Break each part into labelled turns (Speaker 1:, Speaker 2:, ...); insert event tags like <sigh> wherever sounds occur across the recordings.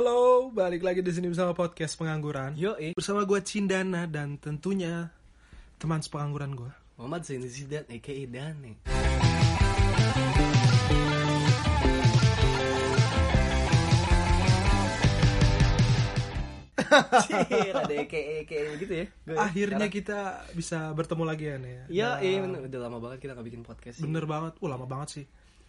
Speaker 1: Halo, balik lagi di sini bersama podcast pengangguran.
Speaker 2: Yo, eh.
Speaker 1: Bersama gue Cindana dan tentunya teman sepengangguran gue.
Speaker 2: Muhammad Zaini Zidan, a.k.a. Dane. Cier, Iya, ada a.k.a. a.k.a. gitu ya. Gua-
Speaker 1: Akhirnya kita bisa bertemu lagi ya nih.
Speaker 2: Yo,
Speaker 1: Nah,
Speaker 2: eh, bener. udah lama banget kita gak bikin podcast.
Speaker 1: bener banget. Uh, lama banget sih.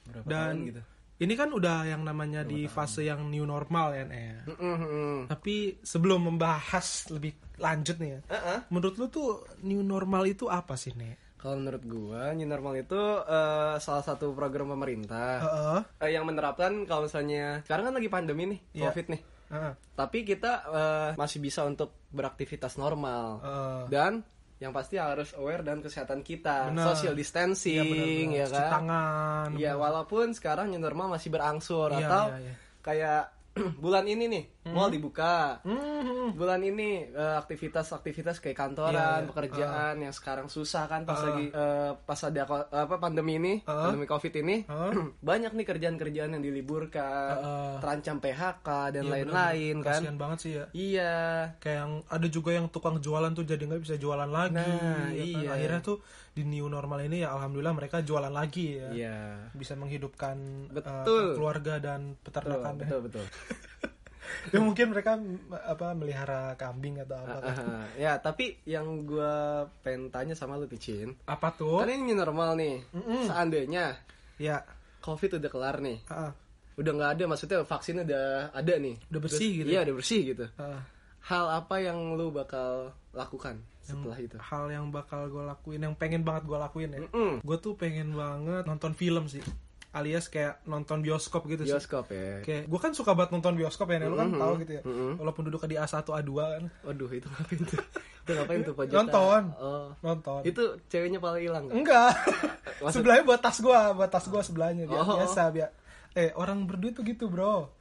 Speaker 2: Berapa
Speaker 1: Dan
Speaker 2: tahun gitu.
Speaker 1: ini kan udah yang namanya di fase yang new normal ya nih. ya.
Speaker 2: Mm, mm, mm.
Speaker 1: Tapi sebelum membahas lebih lanjut nih ya.
Speaker 2: Uh-uh.
Speaker 1: Menurut lu tuh new normal itu apa sih nih?
Speaker 2: Kalau menurut gua, new normal itu eh, salah satu program pemerintah
Speaker 1: Heeh.
Speaker 2: eh, yang menerapkan kalau misalnya sekarang kan lagi pandemi nih,
Speaker 1: Iya.
Speaker 2: covid nih.
Speaker 1: Heeh.
Speaker 2: Tapi kita eh, masih bisa untuk beraktivitas normal.
Speaker 1: Heeh.
Speaker 2: dan yang pasti harus aware dan kesehatan kita
Speaker 1: Benar.
Speaker 2: social
Speaker 1: Iya,
Speaker 2: distancing
Speaker 1: Bener-bener.
Speaker 2: ya,
Speaker 1: Cuci
Speaker 2: kan
Speaker 1: tangan.
Speaker 2: ya walaupun sekarang yang normal masih berangsur
Speaker 1: Iya,
Speaker 2: atau
Speaker 1: iya, iya.
Speaker 2: kayak <clears throat> bulan ini nih mall dibuka
Speaker 1: Hmm.
Speaker 2: bulan ini eh, aktivitas-aktivitas kayak kantoran
Speaker 1: Iya, iya.
Speaker 2: pekerjaan yang sekarang susah kan
Speaker 1: Ah.
Speaker 2: pas lagi eh, pas ada ko- apa pandemi ini
Speaker 1: Ah.
Speaker 2: pandemi covid ini
Speaker 1: Ah.
Speaker 2: <clears throat> banyak nih kerjaan-kerjaan yang diliburkan
Speaker 1: Ah.
Speaker 2: terancam PHK dan
Speaker 1: Iya,
Speaker 2: lain-lain
Speaker 1: bener-bener.
Speaker 2: kan
Speaker 1: Kasian banget sih ya.
Speaker 2: iya
Speaker 1: kayak yang ada juga yang tukang jualan tuh jadi nggak bisa jualan lagi ya kan?
Speaker 2: Nah, iya.
Speaker 1: akhirnya tuh di new normal ini ya alhamdulillah mereka jualan lagi ya
Speaker 2: iya
Speaker 1: bisa menghidupkan eh,
Speaker 2: Betul.
Speaker 1: keluarga dan
Speaker 2: betul
Speaker 1: peternakan
Speaker 2: betul, betul.
Speaker 1: <laughs> ya mungkin mereka m- apa melihara kambing atau apa kan.
Speaker 2: Ah, ya tapi yang gua pengen tanya sama lu Ticin
Speaker 1: apa tuh
Speaker 2: Kan ini new normal nih Seandainya
Speaker 1: ya
Speaker 2: Covid udah kelar nih
Speaker 1: ah,
Speaker 2: Udah nggak ada maksudnya vaksin udah ada nih
Speaker 1: Udah bersih gitu
Speaker 2: Iya udah bersih gitu
Speaker 1: ah.
Speaker 2: Hal apa yang lu bakal lakukan setelah itu?
Speaker 1: hal yang bakal gue lakuin yang pengen banget gue lakuin ya
Speaker 2: Mm-mm.
Speaker 1: gue tuh pengen banget nonton film sih alias kayak nonton bioskop gitu sih
Speaker 2: Bioskop ya
Speaker 1: Kayak gue kan suka banget nonton bioskop ya, Nel. lu kan
Speaker 2: Mhm,
Speaker 1: tahu gitu ya.
Speaker 2: mhm.
Speaker 1: Walaupun duduk di A1 A2 kan
Speaker 2: Waduh itu ngapain tuh? <laughs> itu ngapain
Speaker 1: <laughs>
Speaker 2: tuh Pak Jota?
Speaker 1: Nonton.
Speaker 2: oh.
Speaker 1: nonton.
Speaker 2: Itu ceweknya paling hilang kan?
Speaker 1: Enggak.
Speaker 2: <laughs> Maksud-
Speaker 1: sebelahnya buat tas gua, buat tas gua sebelahnya Bi-
Speaker 2: Oh.
Speaker 1: biasa biar eh orang berduit tuh gitu,
Speaker 2: <laughs>
Speaker 1: Bro.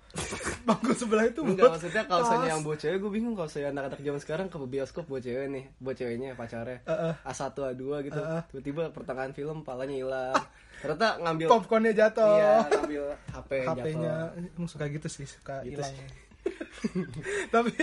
Speaker 1: Bangku sebelah itu buat
Speaker 2: Enggak maksudnya kalau misalnya
Speaker 1: tas.
Speaker 2: yang buat cewek gue bingung kalau saya anak-anak zaman sekarang ke bioskop buat cewek nih, buat ceweknya pacarnya
Speaker 1: Heeh.
Speaker 2: A1 A2 gitu.
Speaker 1: Heeh.
Speaker 2: Tiba-tiba pertengahan film palanya hilang. Ternyata ngambil
Speaker 1: popcornnya jatuh. <laughs>
Speaker 2: iya, ngambil HP
Speaker 1: HP-nya
Speaker 2: jatuh.
Speaker 1: emang suka gitu sih, suka
Speaker 2: Gitu
Speaker 1: hilang.
Speaker 2: sih.
Speaker 1: <laughs> tapi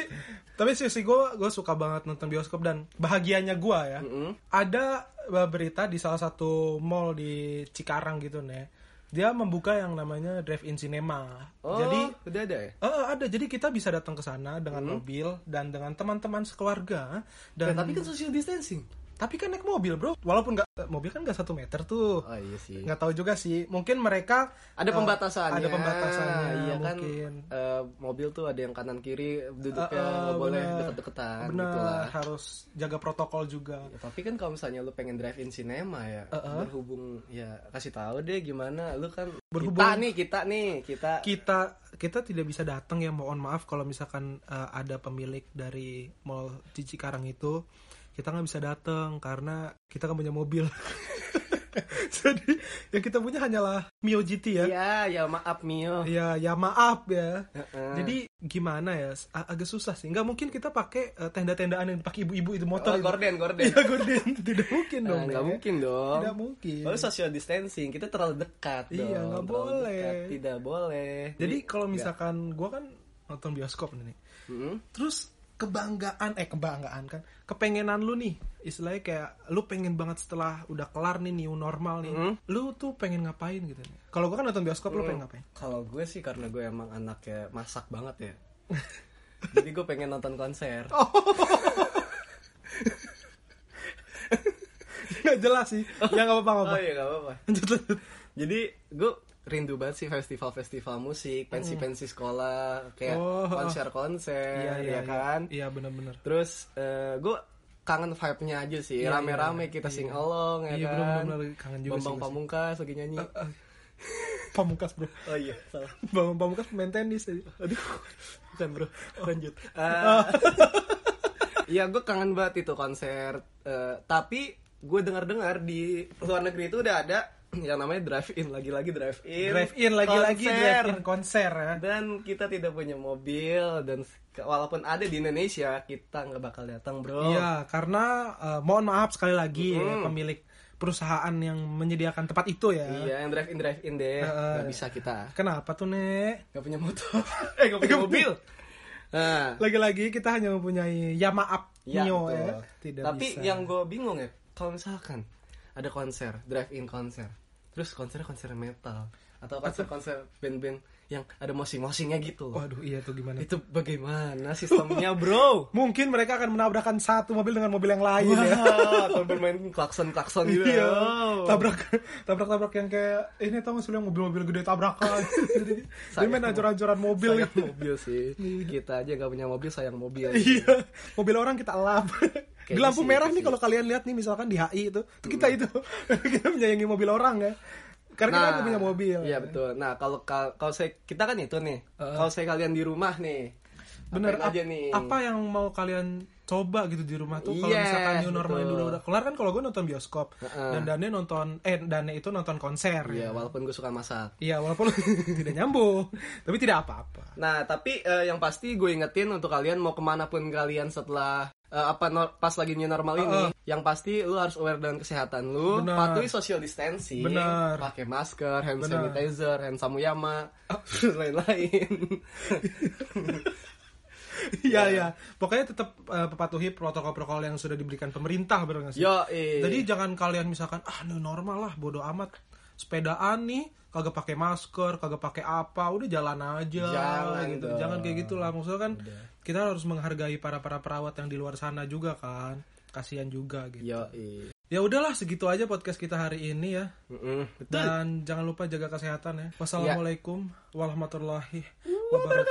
Speaker 1: tapi sih sih gue gue suka banget nonton bioskop dan bahagianya gue ya
Speaker 2: Mm-mm.
Speaker 1: ada eh, berita di salah satu mall di Cikarang gitu nih dia membuka yang namanya drive-in cinema
Speaker 2: Oh,
Speaker 1: jadi
Speaker 2: udah ada ya?
Speaker 1: eh, ada jadi kita bisa datang ke sana dengan mobil dan dengan teman-teman sekeluarga dan
Speaker 2: Nah, Hmm. tapi kan social distancing.
Speaker 1: tapi kan naik mobil bro walaupun nggak mobil kan nggak satu meter tuh
Speaker 2: Oh iya sih.
Speaker 1: nggak tahu juga sih mungkin mereka
Speaker 2: Ada
Speaker 1: eh,
Speaker 2: pembatasannya.
Speaker 1: ada pembatasannya
Speaker 2: Iya kan.
Speaker 1: mungkin
Speaker 2: eh, mobil tuh ada yang kanan kiri duduknya
Speaker 1: Eh, eh,
Speaker 2: nggak boleh
Speaker 1: benar.
Speaker 2: deket-deketan
Speaker 1: benar
Speaker 2: gitu lah.
Speaker 1: harus jaga protokol juga
Speaker 2: Ya, tapi kan kalau misalnya lu pengen drive in cinema ya berhubung ya kasih tahu deh gimana lu kan
Speaker 1: Berhubung-
Speaker 2: kita nih kita nih kita
Speaker 1: kita kita tidak bisa datang ya mohon maaf kalau misalkan eh, ada pemilik dari mall di Cikarang itu kita nggak bisa datang karena kita nggak punya mobil <laughs> jadi yang kita punya hanyalah Mio GT ya
Speaker 2: ya ya maaf Mio
Speaker 1: ya ya maaf ya
Speaker 2: Heeh.
Speaker 1: jadi gimana ya a- agak susah sih nggak mungkin kita pakai eh, tenda-tendaan yang dipakai ibu-ibu itu motor
Speaker 2: Oh,
Speaker 1: itu.
Speaker 2: gorden gorden
Speaker 1: Iya,
Speaker 2: <laughs>
Speaker 1: gorden. <laughs> tidak mungkin
Speaker 2: Nah,
Speaker 1: dong ya.
Speaker 2: nggak
Speaker 1: Nek.
Speaker 2: mungkin dong
Speaker 1: tidak mungkin
Speaker 2: Lalu social distancing kita terlalu dekat
Speaker 1: Iya,
Speaker 2: dong,
Speaker 1: nggak
Speaker 2: terlalu
Speaker 1: boleh.
Speaker 2: dekat. tidak boleh
Speaker 1: jadi kalau misalkan gua kan nonton bioskop nih
Speaker 2: Mm-mm.
Speaker 1: terus kebanggaan eh kebanggaan kan kepengenan lu nih istilahnya kayak lu pengen banget setelah udah kelar nih new normal nih
Speaker 2: Hmm.
Speaker 1: lu tuh pengen ngapain gitu nih kalau gua kan nonton bioskop lu pengen ngapain <laughs>
Speaker 2: kalau gue sih karena gue emang anaknya masak banget ya <laughs> jadi gue pengen nonton konser
Speaker 1: nggak jelas sih ya nggak apa-apa nggak apa-apa
Speaker 2: oh iya nggak apa-apa
Speaker 1: lanjut lanjut
Speaker 2: Jadi gue rindu banget sih festival-festival musik, pensi-pensi sekolah, kayak
Speaker 1: Hmm. Oh.
Speaker 2: konser-konser, ya kan.
Speaker 1: iya benar-benar
Speaker 2: Terus gue kangen vibe-nya aja sih,
Speaker 1: Iya, iya,
Speaker 2: rame-rame
Speaker 1: iya.
Speaker 2: kita sing along, ya
Speaker 1: Iya,
Speaker 2: kan.
Speaker 1: bener-bener kangen juga sih
Speaker 2: Bambang
Speaker 1: gua sih.
Speaker 2: Pamungkas lagi
Speaker 1: <laughs>
Speaker 2: nyanyi.
Speaker 1: pamungkas bro
Speaker 2: oh iya, salah.
Speaker 1: Bang Pamungkas main tenis aja.
Speaker 2: Aduh, bukan bro, lanjut. Oh. Eh, <laughs> Iya, gue kangen banget itu konser. Eh, tapi gue dengar-dengar di luar negeri itu udah ada yang namanya drive-in, lagi-lagi drive-in.
Speaker 1: <laughs> Drive in lagi-lagi drive
Speaker 2: Konser.
Speaker 1: in konser ya.
Speaker 2: dan kita tidak punya mobil dan ke- walaupun ada di Indonesia kita nggak bakal datang bro
Speaker 1: Iya, karena eh, mohon maaf sekali lagi ya, pemilik perusahaan yang menyediakan tempat itu ya.
Speaker 2: Hmm. Iya, yang drive in drive in deh.
Speaker 1: Heeh.
Speaker 2: Nggak bisa kita.
Speaker 1: Kenapa tuh, Nek?
Speaker 2: Gak punya
Speaker 1: <laughs>
Speaker 2: motor. eh, gak punya mobil. Nah,
Speaker 1: Lagi-lagi kita hanya mempunyai ya maaf
Speaker 2: iya,
Speaker 1: Mio
Speaker 2: betul.
Speaker 1: ya. Tidak
Speaker 2: Tapi
Speaker 1: bisa.
Speaker 2: yang gue bingung ya, kalau misalkan ada konser, drive in konser, terus konsernya konser metal atau konser-konser band-band yang ada mosing-mosingnya gitu loh.
Speaker 1: Waduh, iya tuh gimana?
Speaker 2: Itu bagaimana sistemnya, Bro?
Speaker 1: <laughs> Mungkin mereka akan menabrakkan satu mobil dengan mobil yang lain ya.
Speaker 2: Wah, atau bermain klakson-klakson gitu.
Speaker 1: Iya.
Speaker 2: Wow.
Speaker 1: Tabrak tabrak tabrak yang kayak "Eh, ini tau gak sih lu yang mobil-mobil gede tabrakan. <laughs> Dia main ancur-ancuran mobil.
Speaker 2: Sayang mobil sih. Kita aja gak punya mobil sayang mobil.
Speaker 1: <laughs> Iya. Mobil orang kita lap. Di
Speaker 2: Kayaknya
Speaker 1: lampu
Speaker 2: sih,
Speaker 1: merah
Speaker 2: kayaknya
Speaker 1: nih kalau kalian lihat nih misalkan di HI itu, itu kita itu <laughs> kita menyayangi mobil orang ya. Karena kita nggak punya mobil.
Speaker 2: Iya betul. Nah, kalau kal- kalau saya kita kan itu nih. Kalau saya kalian di rumah nih.
Speaker 1: Bener.
Speaker 2: apain
Speaker 1: Ap-
Speaker 2: aja nih.
Speaker 1: Apa yang mau kalian coba gitu di rumah tuh kalau
Speaker 2: Yes,
Speaker 1: misalkan new normal
Speaker 2: betul.
Speaker 1: udah udah kelar kan kalau gue nonton bioskop
Speaker 2: Heeh.
Speaker 1: dan Dane nonton eh Dane itu nonton konser ya.
Speaker 2: Iya, walaupun gue suka masak.
Speaker 1: Iya, walaupun <laughs> tidak nyambung, tapi tidak apa-apa.
Speaker 2: Nah, tapi eh, yang pasti gue ingetin untuk kalian mau kemana pun kalian setelah eh, apa nor- pas lagi new normal ini, yang pasti lu harus aware dengan kesehatan lu,
Speaker 1: Benar.
Speaker 2: patuhi social distancing,
Speaker 1: Benar.
Speaker 2: pakai masker, hand
Speaker 1: Benar.
Speaker 2: sanitizer, hand
Speaker 1: <laughs>
Speaker 2: samuyama, <laughs> dan lain-lain.
Speaker 1: Iya iya, pokoknya tetap eh, patuhi protokol-protokol yang sudah diberikan pemerintah benar nggak sih?
Speaker 2: Yo, eh.
Speaker 1: Jadi jangan kalian misalkan ah new normal lah bodo amat sepedaan nih kagak pakai masker, kagak pakai apa, udah jalan aja.
Speaker 2: Jangan
Speaker 1: gitu.
Speaker 2: dong.
Speaker 1: Jangan kayak gitulah maksudnya kan kita harus menghargai para para perawat yang di luar sana juga kan. Kasihan juga gitu.
Speaker 2: Yo, eh.
Speaker 1: Ya udahlah segitu aja podcast kita hari ini ya.
Speaker 2: Mm-mm.
Speaker 1: Dan jangan lupa jaga kesehatan ya. Wassalamualaikum warahmatullahi wabarakatuh.